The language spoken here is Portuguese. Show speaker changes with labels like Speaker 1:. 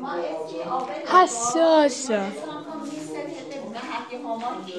Speaker 1: ما اسمی آبل
Speaker 2: حساسه
Speaker 1: اسمم کنم نیست که به محک هما کی